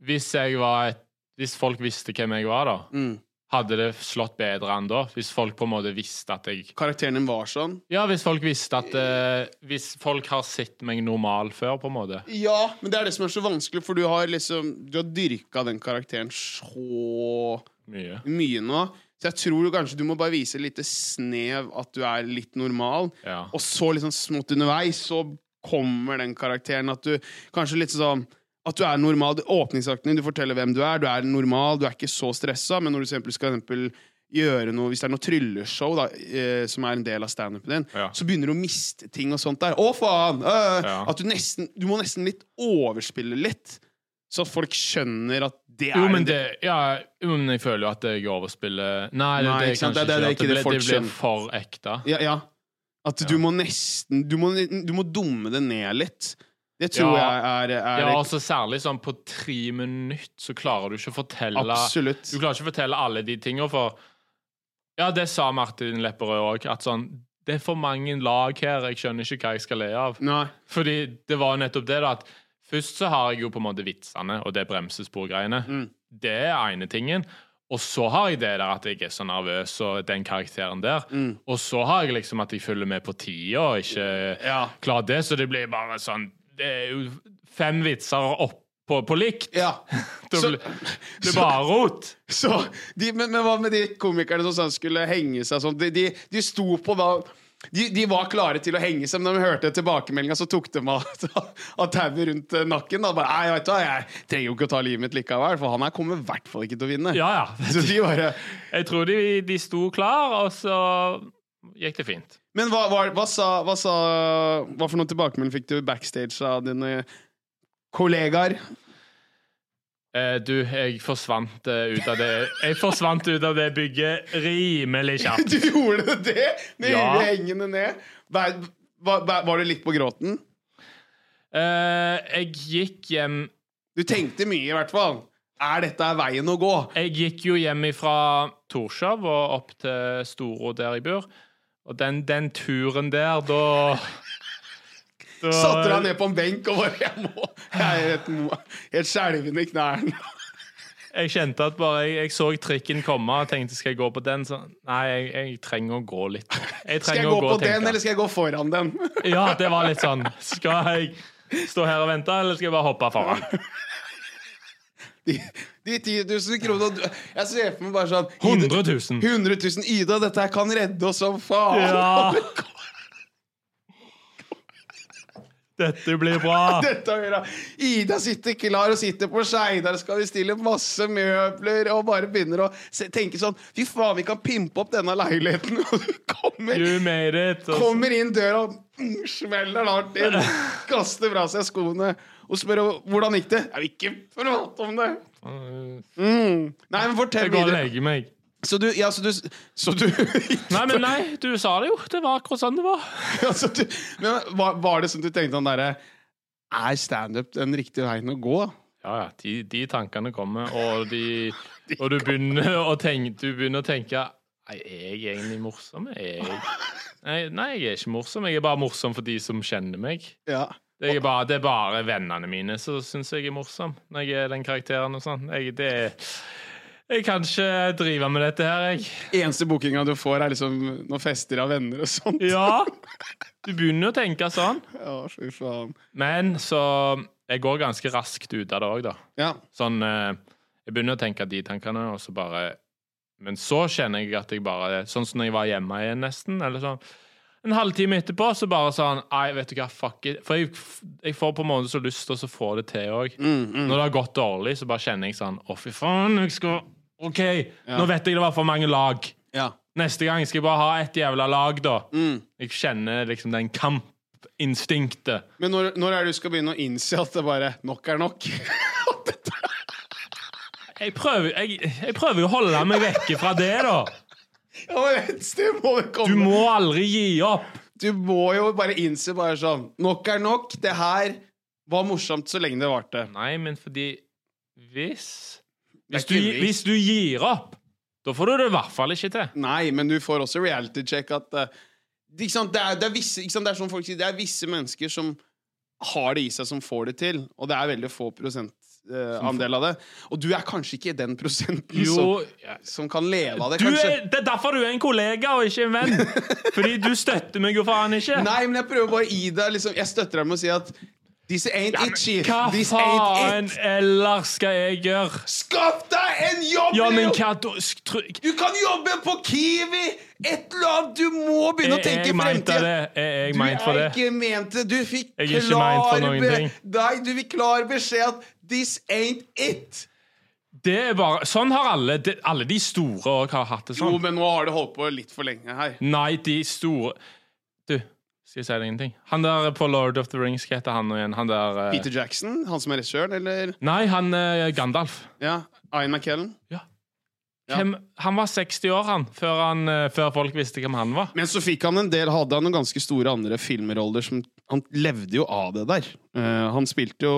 Hvis jeg var et Hvis folk visste hvem jeg var, da,
Mm.
hadde det slått bedre enn da? Hvis folk på en måte visste at jeg
Karakteren din var sånn.
Ja, hvis folk visste at eh, Hvis folk har sett meg normal før, på en måte.
Ja, men det er det som er så vanskelig, for du har liksom Du har dyrka den karakteren så
Mye.
mye nå. Så jeg tror du kanskje du må bare vise et lite snev at du er litt normal.
Ja.
Og så liksom smått underveis så kommer den karakteren at du kanskje litt sånn at du er normal. Du- Åpningsakten din, du forteller hvem du er, du er normal, du er ikke så stressa, men når du for eksempel skal for eksempel gjøre noe, hvis det er noe trylleshow da, eh, som er en del av standupen din,
Ja.
så begynner du å miste ting og sånt der. Å, faen! øh,
Ja.
At du nesten Du må nesten litt overspille litt, så at folk skjønner at det er
Jo,
en
men det Ja, jo, men jeg føler jo at jeg overspiller Nei, det,
Nei,
det er
ikke sant,
kanskje
det- det- det er
ikke
ikke
det.
det
Det blir,
folk
det blir
skjønner.
for ekte.
Ja, ja. At du
Ja.
må nesten du må, du må dumme det ned litt. Det tror
Ja.
jeg er, er
Ja, altså Særlig sånn på tre minutter så klarer du ikke å fortelle
Absolutt.
Du klarer ikke å fortelle alle de tinga, for Ja, det sa Martin Lepperød òg, at sånn Det er for mange lag her, jeg skjønner ikke hva jeg skal le av.
Nei.
Fordi det var jo nettopp det, da, at først så har jeg jo på en måte vitsene og det bremsesporgreiene.
Mm.
Det er ene tingen. Og så har jeg det der at jeg er så nervøs og den karakteren der.
Mm.
Og så har jeg liksom at jeg følger med på tida og ikke
Ja.
klarer det, så det blir bare sånn Det er jo fem vitser opp på, på likt.
ja.
Det
Så-
blir, det blir bare rot.
Så, de, men, men hva med de komikerne som sånn skulle henge seg sånn? De, de, de sto på hva De, de var klare til å henge seg, men da de hørte tilbakemeldinga, så tok de av <laughs> av tauet rundt eh, nakken. Da bare, Nei, vet du, hva, jeg trenger jo ikke å ta livet mitt likevel, for han her kommer i hvert fall ikke til å vinne.
Ja, ja.
<laughs> Så de bare,
Jeg tror de, de sto klar, og så gikk det fint.
men hva, hva, hva, sa, hva sa Hva for noen tilbakemelding fikk du backstage av dine kollegaer?
Eh, du, jeg forsvant eh, ut av det Jeg forsvant ut av det bygget rimelig
<laughs>
kjapt.
Du gjorde det med
Ja.
huet hengende ned? Var, var, var du litt på gråten?
Eh, jeg gikk hjem
Du tenkte mye, i hvert fall. Er dette veien å gå?
Jeg gikk jo hjem fra Torshov og opp til Storå, der jeg bor. Og den, den turen der, da, da
Satte deg ned på en benk og bare Jeg må Jeg er helt, mo- helt skjelven i knærne.
Jeg kjente at bare jeg, jeg så trikken komme og tenkte skal jeg gå på den. Så, nei, jeg, jeg trenger å gå litt. Jeg
Skal
trenger
jeg gå
å gå
på
og
den,
tenke.
eller skal jeg gå foran den?
Ja, det var litt sånn. Skal jeg stå her og vente, eller skal jeg bare hoppe foran?
De, de 10 000 kronene du- Jeg ser for meg bare sånn
100
Ida-
000.
100 000. Ida, dette her kan redde oss som faen!
Ja. Dette blir bra.
<laughs> Dette å gjøre. Ida sitter klar og sitter på Skeidar, skal vi stille masse møbler og bare begynner å se, tenke sånn Fy faen, vi kan pimpe opp denne leiligheten! <laughs> Og du kommer
You made it. Og så-
Kommer inn døra, mm, smeller hardt inn, kaster fra seg skoene og spør om- hvordan gikk det. Jeg vil ikke prate om det! Mm. Nei, men fortell
Jeg går og
videre.
legger meg.
Så du, ja, så du, så du, <laughs>
Nei, men nei, du sa det jo. Det var akkurat sånn det var.
Ja, så du men var, var det som du tenkte han derre Er standup den riktige veien å gå?
Ja, ja. De, de tankene kommer, og, de, og du, begynner å tenke, du begynner å tenke Nei, er jeg egentlig morsom? Er jeg? Nei, nei, jeg er ikke morsom. Jeg er bare morsom for de som kjenner meg.
Ja.
Det er bare, det er bare vennene mine som syns jeg er morsom, når jeg er den karakteren og sånn. Jeg, det er- jeg kan ikke drive med dette her, jeg.
Eneste bookinga du får, er liksom noen fester av venner og sånn.
<laughs>
sånt.
Ja. Du begynner å tenke sånn.
Ja, fy faen.
Men så Jeg går ganske raskt ut av det òg, da.
Ja.
Sånn eh, Jeg begynner å tenke de tankene, og så bare Men så kjenner jeg at jeg bare Sånn som når jeg var hjemme igjen, nesten. Eller sånn. En halvtime etterpå så bare sånn Nei, vet du hva, fuck it. For jeg, jeg får på en måte så lyst til å så få det til òg. Når det har gått dårlig, så bare kjenner jeg sånn Å, fy faen, jeg skal OK, nå vet jeg det var for mange lag.
ja.
Neste gang skal jeg bare ha ett jævla lag, da.
Mm.
Jeg kjenner liksom den kampinstinktet.
Men når, når er det du skal begynne å innse at det bare nok er nok? <laughs> At dette-
Jeg prøver, jeg, jeg prøver jo å holde meg vekke fra det, da.
ja, men et sted må det komme.
Du må aldri gi opp.
du må jo bare innse bare sånn Nok er nok. Det her var morsomt så lenge det varte.
Nei, men fordi Hvis
Det
Hvis
er
du,
ikke
hvis du gir opp, da får du det i hvert fall ikke til.
Nei, men du får også reality check at eh, det- ikke sant, det, er, det, er visse, ikke sant, det er som folk sier, det er visse mennesker som har det i seg, som får det til. Og det er veldig få prosentandel av det. Og du er kanskje ikke den prosenten som,
Jo, ja.
som kan leve av det,
du
kanskje.
er, det er derfor du er en kollega og ikke en
<laughs>
venn. Fordi du støtter meg jo faen ikke.
Nei, men jeg prøver bare å gi deg liksom, Jeg støtter deg med å si at This ain't it, chief.
Hva
This
faen
ain't it.
ellers skal jeg gjøre?
Skaff deg en jobb!
Ja, men
Leo!
hva da sk- tru-
Du kan jobbe på Kiwi! Et eller annet! Du må begynne
Er
å tenke
jeg meint av det?
fremtiden.
Er jeg
Du
meint for
er
det?
ikke ment det. Du fikk
Jeg er ikke
klar
meint for noen
be-
ting.
Nei, du fikk klar beskjed at this ain't it.
Det er bare, sånn har alle de, Alle de store òg har hatt det
Jo,
sånn.
men nå har du holdt på litt for lenge her.
Nei, de store Du, skal jeg si deg ingenting? Han der på Lord of the Rings, hva heter han nå igjen? Han der eh,
Peter Jackson, han som er regissøren, eller
Nei, han eh, Gandalf.
ja, Ian McKellen.
Ja.
Ja.
Hvem, han var 60 år, han, før, han eh, før folk visste hvem han var.
Men så fikk han en del, hadde han noen ganske store andre filmroller som Han levde jo av det der. Eh, han spilte jo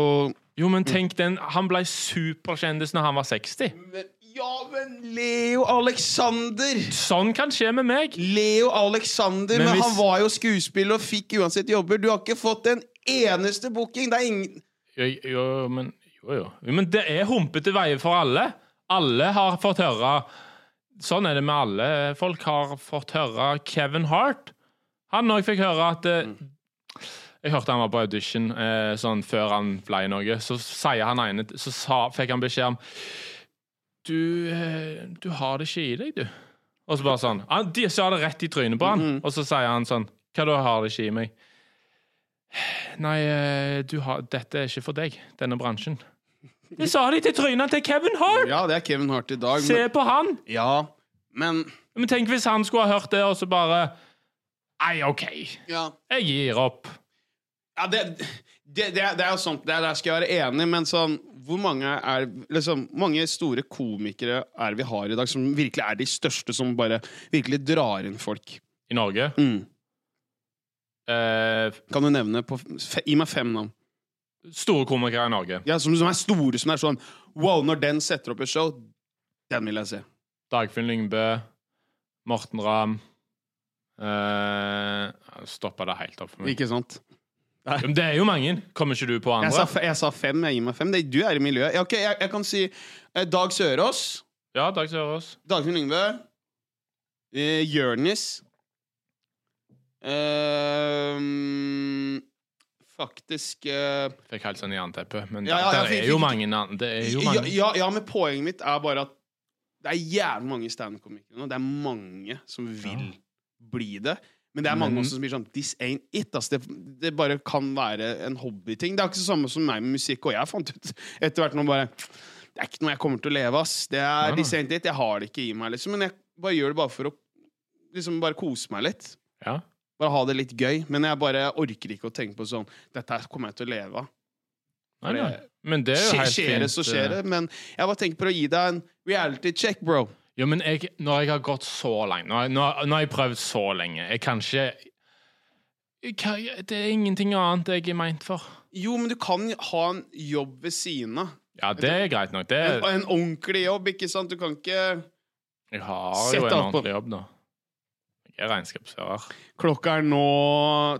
Jo, men tenk den Han ble superkjendis når han var 60.
Ja, men Leo Alexander!
Sånn kan skje med meg.
Leo Alexander, men,
Men hvis-
han var jo skuespiller og fikk uansett jobber. Du har ikke fått en eneste booking. Det er ingen
Jo, jo men Jo, jo. Jo, Men det er humpete veier for alle. Alle har fått høre Sånn er det med alle. Folk har fått høre Kevin Hart. Han òg fikk høre at eh,
Mm.
Jeg hørte han var på audition eh, sånn før han ble noe. Så sier han ene Så sa, fikk han beskjed om Du, eh, "Ah,
Mm-hmm.
du har det ikke i deg, du. Og så bare sånn han, De sa det rett i trynet på han, og så sier han sånn Hva da har det ikke i meg? Nei, eh, du har, dette er ikke for deg, denne
<laughs>
bransjen. Det sa de til trynet til Kevin Hart!
Ja, det er Kevin Hart i dag,
Se
men,
på han!
ja, men
Men tenk hvis han skulle ha hørt det, og så bare Nei, OK,
ja.
jeg gir opp.
Ja, det, det, det, er- det er jo sånt, der, der skal jeg være enig, men sånn Hvor mange er liksom, mange store komikere er det vi har i dag, som virkelig er de største, som bare virkelig drar inn folk?
I Norge
Mm.
eh,
Kan du nevne på, fe, Gi meg fem navn.
Store komikere i Norge.
Ja, som, som er store, som er sånn Wow, når den setter opp et show, den vil jeg se.
Dagfinn Lyngbø, Morten Ramm eh, Stoppa det helt opp for meg.
Ikke sant?
Men Det er jo mange. Kommer ikke du på
Jeg sa,
andre?
fe- jeg sa fem. Jeg gir meg fem. Det, du er i miljøet. Ja, ok, jeg, jeg kan si eh, Dag Sørås.
Ja, Dag Sørås.
Dagfinn Lyngve. Eh, Jørnis. Eh, faktisk eh,
Fikk helt sånn jernteppe. Men
Ja, ja,
der,
ja,
der
fikk-
er jo
fikk-
mange navn. Det er jo
ja,
mange.
ja, ja, men poenget mitt er bare at det er jævlig mange standup-komikere nå. Det er mange som vil
Ja.
bli det. Men det er mange
Men-
også som blir sånn This ain't it. ass. Det, det bare kan være en hobbyting. Det er ikke det samme som meg med musikk, og jeg fant ut <laughs> etter hvert nå bare Det er ikke noe jeg kommer til å leve, ass. Det
Nei,
er
nei.
this ain't it. Jeg har det ikke i meg, liksom. Men jeg bare gjør det bare for å liksom bare kose meg litt.
Ja.
Bare ha det litt gøy. Men jeg bare orker ikke å tenke på sånn Dette her kommer jeg til å leve av.
Nei, nei. Men det er jo
Skje-
helt
Skjer det, så
fint, eh,
skjer det. Men jeg bare tenker på å gi deg en reality check, bro.
Jo, men jeg, når jeg har gått så langt Når jeg, når, når jeg har prøvd så lenge Jeg kan ikke jeg kan, Det er ingenting annet jeg er meint for.
Jo, men du kan ha en jobb ved siden av.
Ja, det er greit nok. Det
En,
er,
en ordentlig jobb, ikke sant? Du kan ikke
jeg har
Sett
jo en
alt på-
ordentlig jobb, da. Jeg er regnskapsfører.
Klokka er nå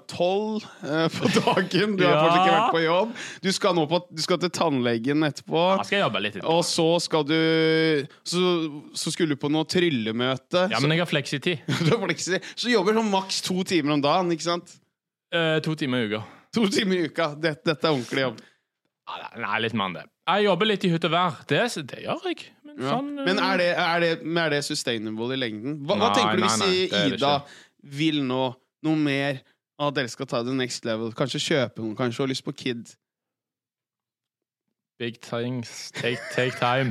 tolv eh, på dagen. Du har
Ja.
fortsatt ikke vært på jobb. Du skal, nå på, du skal til tannlegen etterpå.
Da skal jeg jobbe litt.
Og så skal du Så, så skulle du på noe tryllemøte.
Ja, men jeg har fleksitid.
så, <laughs> du er fleksibel. så jobber du sånn maks to timer om dagen, ikke sant?
Eh, to timer i uka.
To timer i uka. Dette, dette er ordentlig jobb.
Ja, det- Nei, litt mer enn det. Jeg jobber litt i hytt og vær. Det, det gjør jeg. Men,
Ja.
sånn, eh,
Men er det, er, det, men er det sustainable i lengden? Hva, hva
Nei,
tenker du
nei,
hvis
nei, det er det
Ida vil nå noe mer? At dere skal ta det next level? Kanskje kjøpe noe? Kanskje ha lyst på kid?
Big things take,
<laughs>
take time.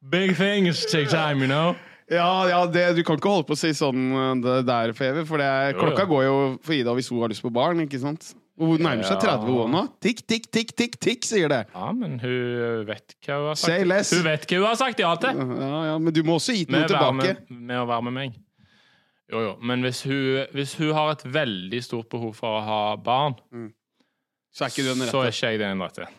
Big things take time, you know.
Ja, ja det, du kan ikke holde på å si sånn eh, det der for evig, for det er,
Jo, jo.
klokka går jo for Ida hvis hun har lyst på barn, ikke sant? Og Hun nærmer seg
Ja.
30 år nå. Tikk, tikk, tikk, tikk, tikk, sier det.
Ja, men hun vet hva hun har sagt.
Say less.
Hun vet hva hun har sagt ja til!
Ja, ja, men du må også gi noe
Med, å være
tilbake.
med, med å være med meg. Jo, jo. Men hvis hun, hvis hun har et veldig stort behov for å ha barn,
Så er ikke du den
så er
rette.
ikke jeg den rette.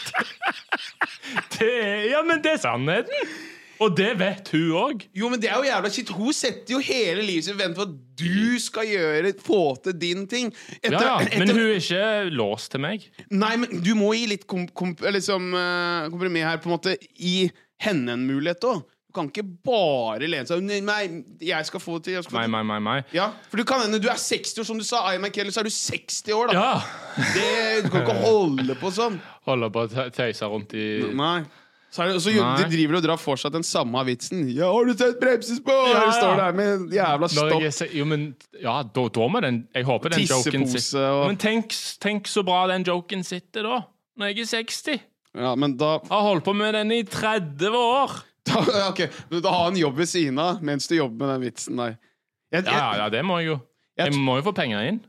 <laughs> det er, ja, men det er sannheten! Og det vet hun òg.
Jo, men det er jo jævla shit. Hun setter jo hele livet sitt i vente på at du skal gjøre, få til din ting. Etter,
Ja, ja. Men
etter-
hun er ikke låst til meg.
Nei, men du må gi litt kom, kom, eller liksom, eh, kompromiss her, på en måte. Gi henne en mulighet òg. Du kan ikke bare lene seg Nei, Nei, jeg skal få det til. Jeg skal få
Nei,
det til.
nei, nei. nei.
Ja, for du kan hende du er 60 år, som du sa. Ian McKellen, så er du 60 år, da.
Ja!
Det, du kan ikke holde på sånn.
Holder på å tø- tøyse rundt i
Nei. Så, er det, så jo-
Nei.
de driver og drar fortsatt den samme vitsen. Ja, 'Har du sett bremsespor?'
Ja, ja.
Står der med jævla
Når
stopp.
jeg, ser- jo, men, ja, da, da må den Jeg håper den joken
Tissepose
sitter.
og-
Men tenk, tenk så bra den joken sitter da, når jeg er 60.
Ja, men da, <laughs>
Har holdt på med den i 30 år.
da Ok, men da ha en jobb ved siden av mens du jobber med den vitsen der. Jeg,
Ja, ja, ja, det må jeg jo. Jeg må jo få penger inn.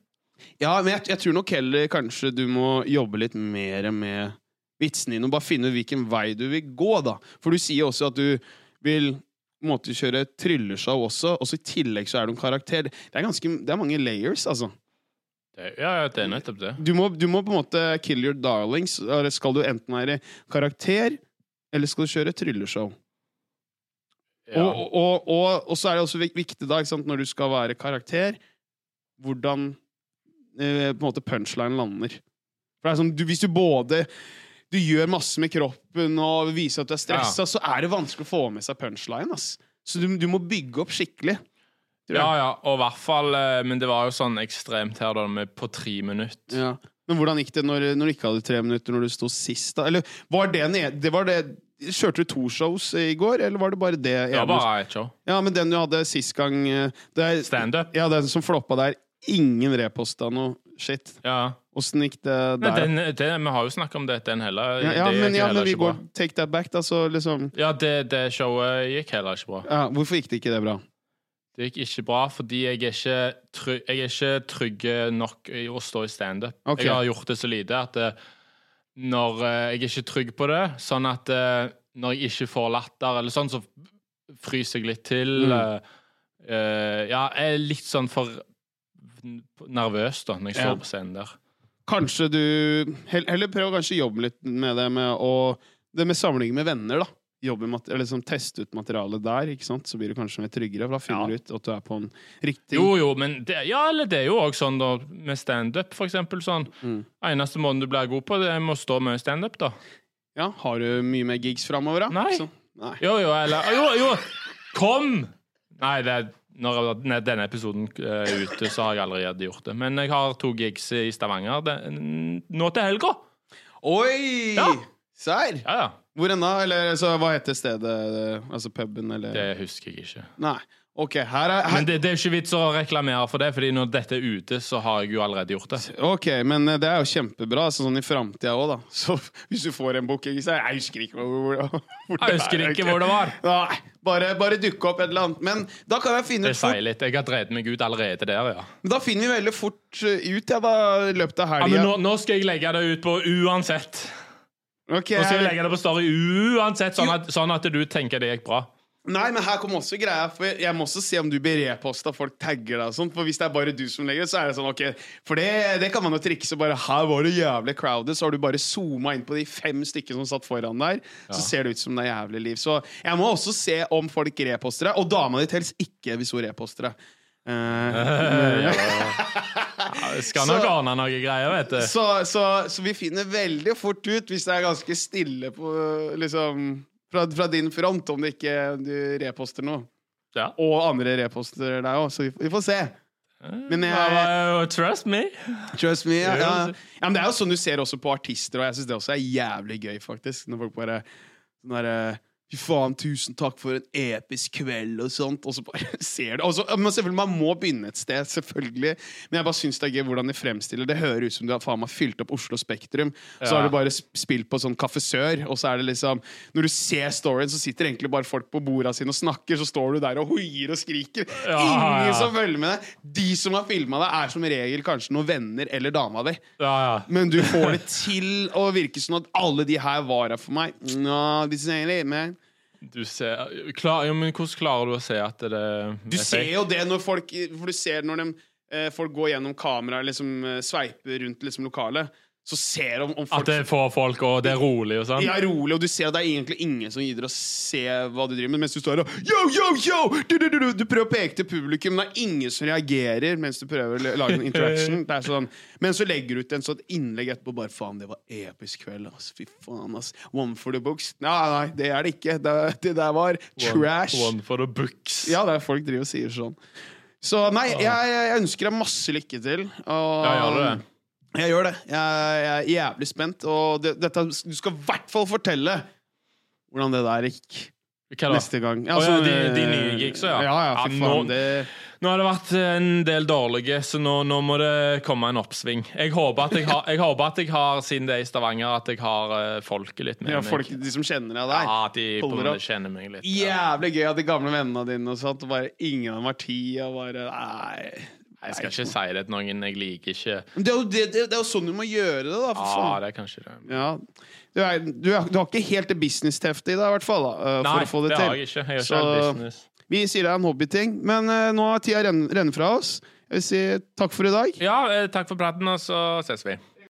Ja, men jeg, jeg tror nok heller kanskje du må jobbe litt mer med vitsene dine, og bare finne ut hvilken vei du vil gå, da. For du sier også at du vil på en måte kjøre trylleshow også, og så i tillegg så er du en karakter. Det er, ganske, det er mange layers, altså.
Det, ja, ja, det er nettopp det.
Du må, du må på en måte kill your darlings. eller Skal du enten være karakter, eller skal du kjøre trylleshow?
Ja.
Og, og, og, og så er det også vik- viktig da, ikke sant, når du skal være karakter, hvordan eh, på en måte punchline lander. For det er sånn, du, Hvis du både du gjør masse med kroppen og viser at du er stressa, så er det vanskelig å få med seg punchline. ass. Så du, du må bygge opp skikkelig. tror jeg.
ja, ja, og i hvert fall eh, Men det var jo sånn ekstremt her, da, med på tre minutter.
Men hvordan gikk det når, når du ikke hadde tre minutter når du sto sist? da? Eller var det, en, e- det var det Kjørte du to shows i går, eller var det bare det?
Det
ene?
var bare et show.
Ja, men den du hadde sist gang eh, det er-
Standup.
Ja, den som floppa der. Ingen reposta noe shit.
Ja.
Åssen gikk det der?
Nei, den, det, vi har jo snakka om det, den heller.
ja, ja,
det gikk
men, ja,
heller
men vi
ikke bra.
går take that back, da, så liksom
Ja, det, det showet gikk heller ikke bra.
ja, Hvorfor gikk det ikke det bra?
Det gikk ikke bra fordi jeg er ikke, try jeg er ikke trygg nok i å stå i standup.
Ok.
Jeg har gjort det så lite at eh, når eh, jeg er ikke trygg på det, sånn at eh, når jeg ikke får latter eller sånn, så fryser jeg litt til.
Mm.
eh, eh, ja, jeg er litt sånn for nervøs da, når jeg står
Ja.
på scenen der.
Kanskje du hell- Heller prøv å kanskje jobbe litt med det med å Det med samling med venner, da. Jobbe med, mat- eller liksom teste ut materialet der, ikke sant? så blir du kanskje mer tryggere. For da finner
Ja.
du ut at du er på en riktig
Jo, jo, men det, ja, eller det er jo også sånn da, med standup, for eksempel. Sånn.
Mm.
Eneste måten du blir god på, det er med å stå med standup, da.
Ja, Har du mye mer gigs framover, da?
Nei.
Så- nei.
Jo, jo, eller Jo, jo! Kom! Nei, det er, når når denne episoden eh, er ute, så har jeg allerede gjort det. Men jeg har to gigs i Stavanger det, nå til helga.
Oi!
Ja.
Serr!
Ja, ja.
Hvor enn da? Eller altså, hva heter stedet? Altså puben, eller
Det husker jeg ikke.
Nei. OK, her er her...
Men det, det er jo ikke vits å reklamere for det, Fordi når dette er ute, så har jeg jo allerede gjort det.
Ok, men eh, det er jo kjempebra, altså, sånn i framtida òg, da. <laughs> Så hvis du får en booking, så jeg husker ikke hvor, hvor, hvor det
Jeg husker
er,
ikke
ok.
hvor det var.
Nei, bare, bare dukke opp et eller annet. Men da kan jeg finne ut
Det
fort,
sier litt. Jeg har dreid meg ut allerede der, ja.
da finner vi veldig fort eh, ut ja, da, i løpet av
Ja, men
helga.
nå, nå skal jeg legge det ut på uansett.
Ok,
Nå skal jeg
her-
legge det på story uansett, sånn at, sånn at du tenker det gikk bra.
Nei, men her kommer også greia. For jeg- jeg må også se om du blir reposta. Folk tagger deg og sånt. For hvis det er bare du som legger det, så er det sånn, ok. For det, det kan man jo trikse. Bare her var det jævlig crowded, så har du bare zooma inn på de fem stykkene som satt foran der. Så ser det ut som det er jævlig liv. Så jeg må også se om folk reposter deg. Og dama di helst ikke hvis hun reposter deg. Eh,
Jeg skal nok
Så-
ordne noe greier, vet du.
<laughs> så, så, så vi finner veldig fort ut hvis det er ganske stille på, liksom, fra, fra din front, om det ikke du reposter noe.
Ja.
Og andre reposter deg òg, så vi, vi får se.
Eh,
Men jeg,
Ja, Trust me.
trust me. Ja, ja. ja, men det er jo sånn du ser også på artister, og jeg syns det også er jævlig gøy, faktisk. Når folk bare sånn derre Fy faen, tusen takk for en episk kveld, og sånt. Og så bare <laughs> ser du og så, men selvfølgelig, Man må begynne et sted, selvfølgelig. Men jeg bare syns det er gøy hvordan de fremstiller det. hører ut som du har faen meg fylt opp Oslo Spektrum. Så
Ja.
har du bare sp- spilt på sånn kafesør, og så er det liksom Når du ser storyen, så sitter egentlig bare folk på borda sine og snakker, så står du der og hoier og skriker.
Ja,
Ingen
ja.
som følger med deg. De som har filma deg, er som regel kanskje noen venner eller dama di.
Ja, ja.
Men du får
<laughs>
det til å virke sånn at alle de her var her for meg. Nå, this ain't it, man.
Du ser klar, jo, Men hvordan klarer du å se at det
Du ser jo det når folk For du ser når de, eh, folk går gjennom kamera liksom eh, sveiper rundt liksom, lokalet, så ser du om, om
At
folk
det får folk, og det er rolig og sånn?
de er rolig, og du ser at det er egentlig ingen som gidder å se hva du driver med, mens du står her og yo, yo, yo! Du, du, du, du, du prøver å peke til publikum, men det er ingen som reagerer mens du prøver å lage en interaction. Det er sånn. Men så legger du ut en sånn innlegg etterpå. Bare faen, det var episk kveld, ass. Fy faen, ass. One for the books. Nei, nei, det er det ikke. Det, det der var trash.
One, one for the books.
Ja, det er folk driver og sier sånn. Så nei, jeg, jeg ønsker deg masse lykke til. Og,
Ah. Ja, gjør du det?
Jeg gjør det. Jeg, jeg er jævlig spent. Og det, dette, du skal i hvert fall fortelle hvordan det der gikk
Hva da?
neste gang. Altså,
Å, ja, de- de nye gigsa, ja.
Ja, ja,
Ja,
fy
nå-
faen. Det,
Nå har det vært en del dårlige, så nå, nå må det komme en oppsving. Jeg håper at jeg har, jeg håper at jeg har siden det er i Stavanger, at jeg har eh, folket litt med
ja,
meg.
folk, de som kjenner deg der.
ja, de på en
holder
måte
opp.
kjenner meg litt. Ja.
Jævlig gøy at de gamle vennene dine og sånt, og bare ingen av dem har tid. Og bare, nei.
Jeg skal ikke si det til noen jeg liker ikke.
Men Det er, jo, det, det, det er jo sånn du må gjøre det, da. For
Ja,
faen.
det er kanskje det.
Ja. Du, er, du, er, du har ikke helt det business-teftet i deg, i hvert fall. Da, eh,
Nei,
for å få det,
det
til.
har jeg ikke. Jeg
Så-
gjør ikke all business.
Vi sier det er en hobbyting, men eh, nå har tida renn- renner fra oss. Jeg vil si takk for i dag.
Ja, eh, takk for praten, og så ses vi.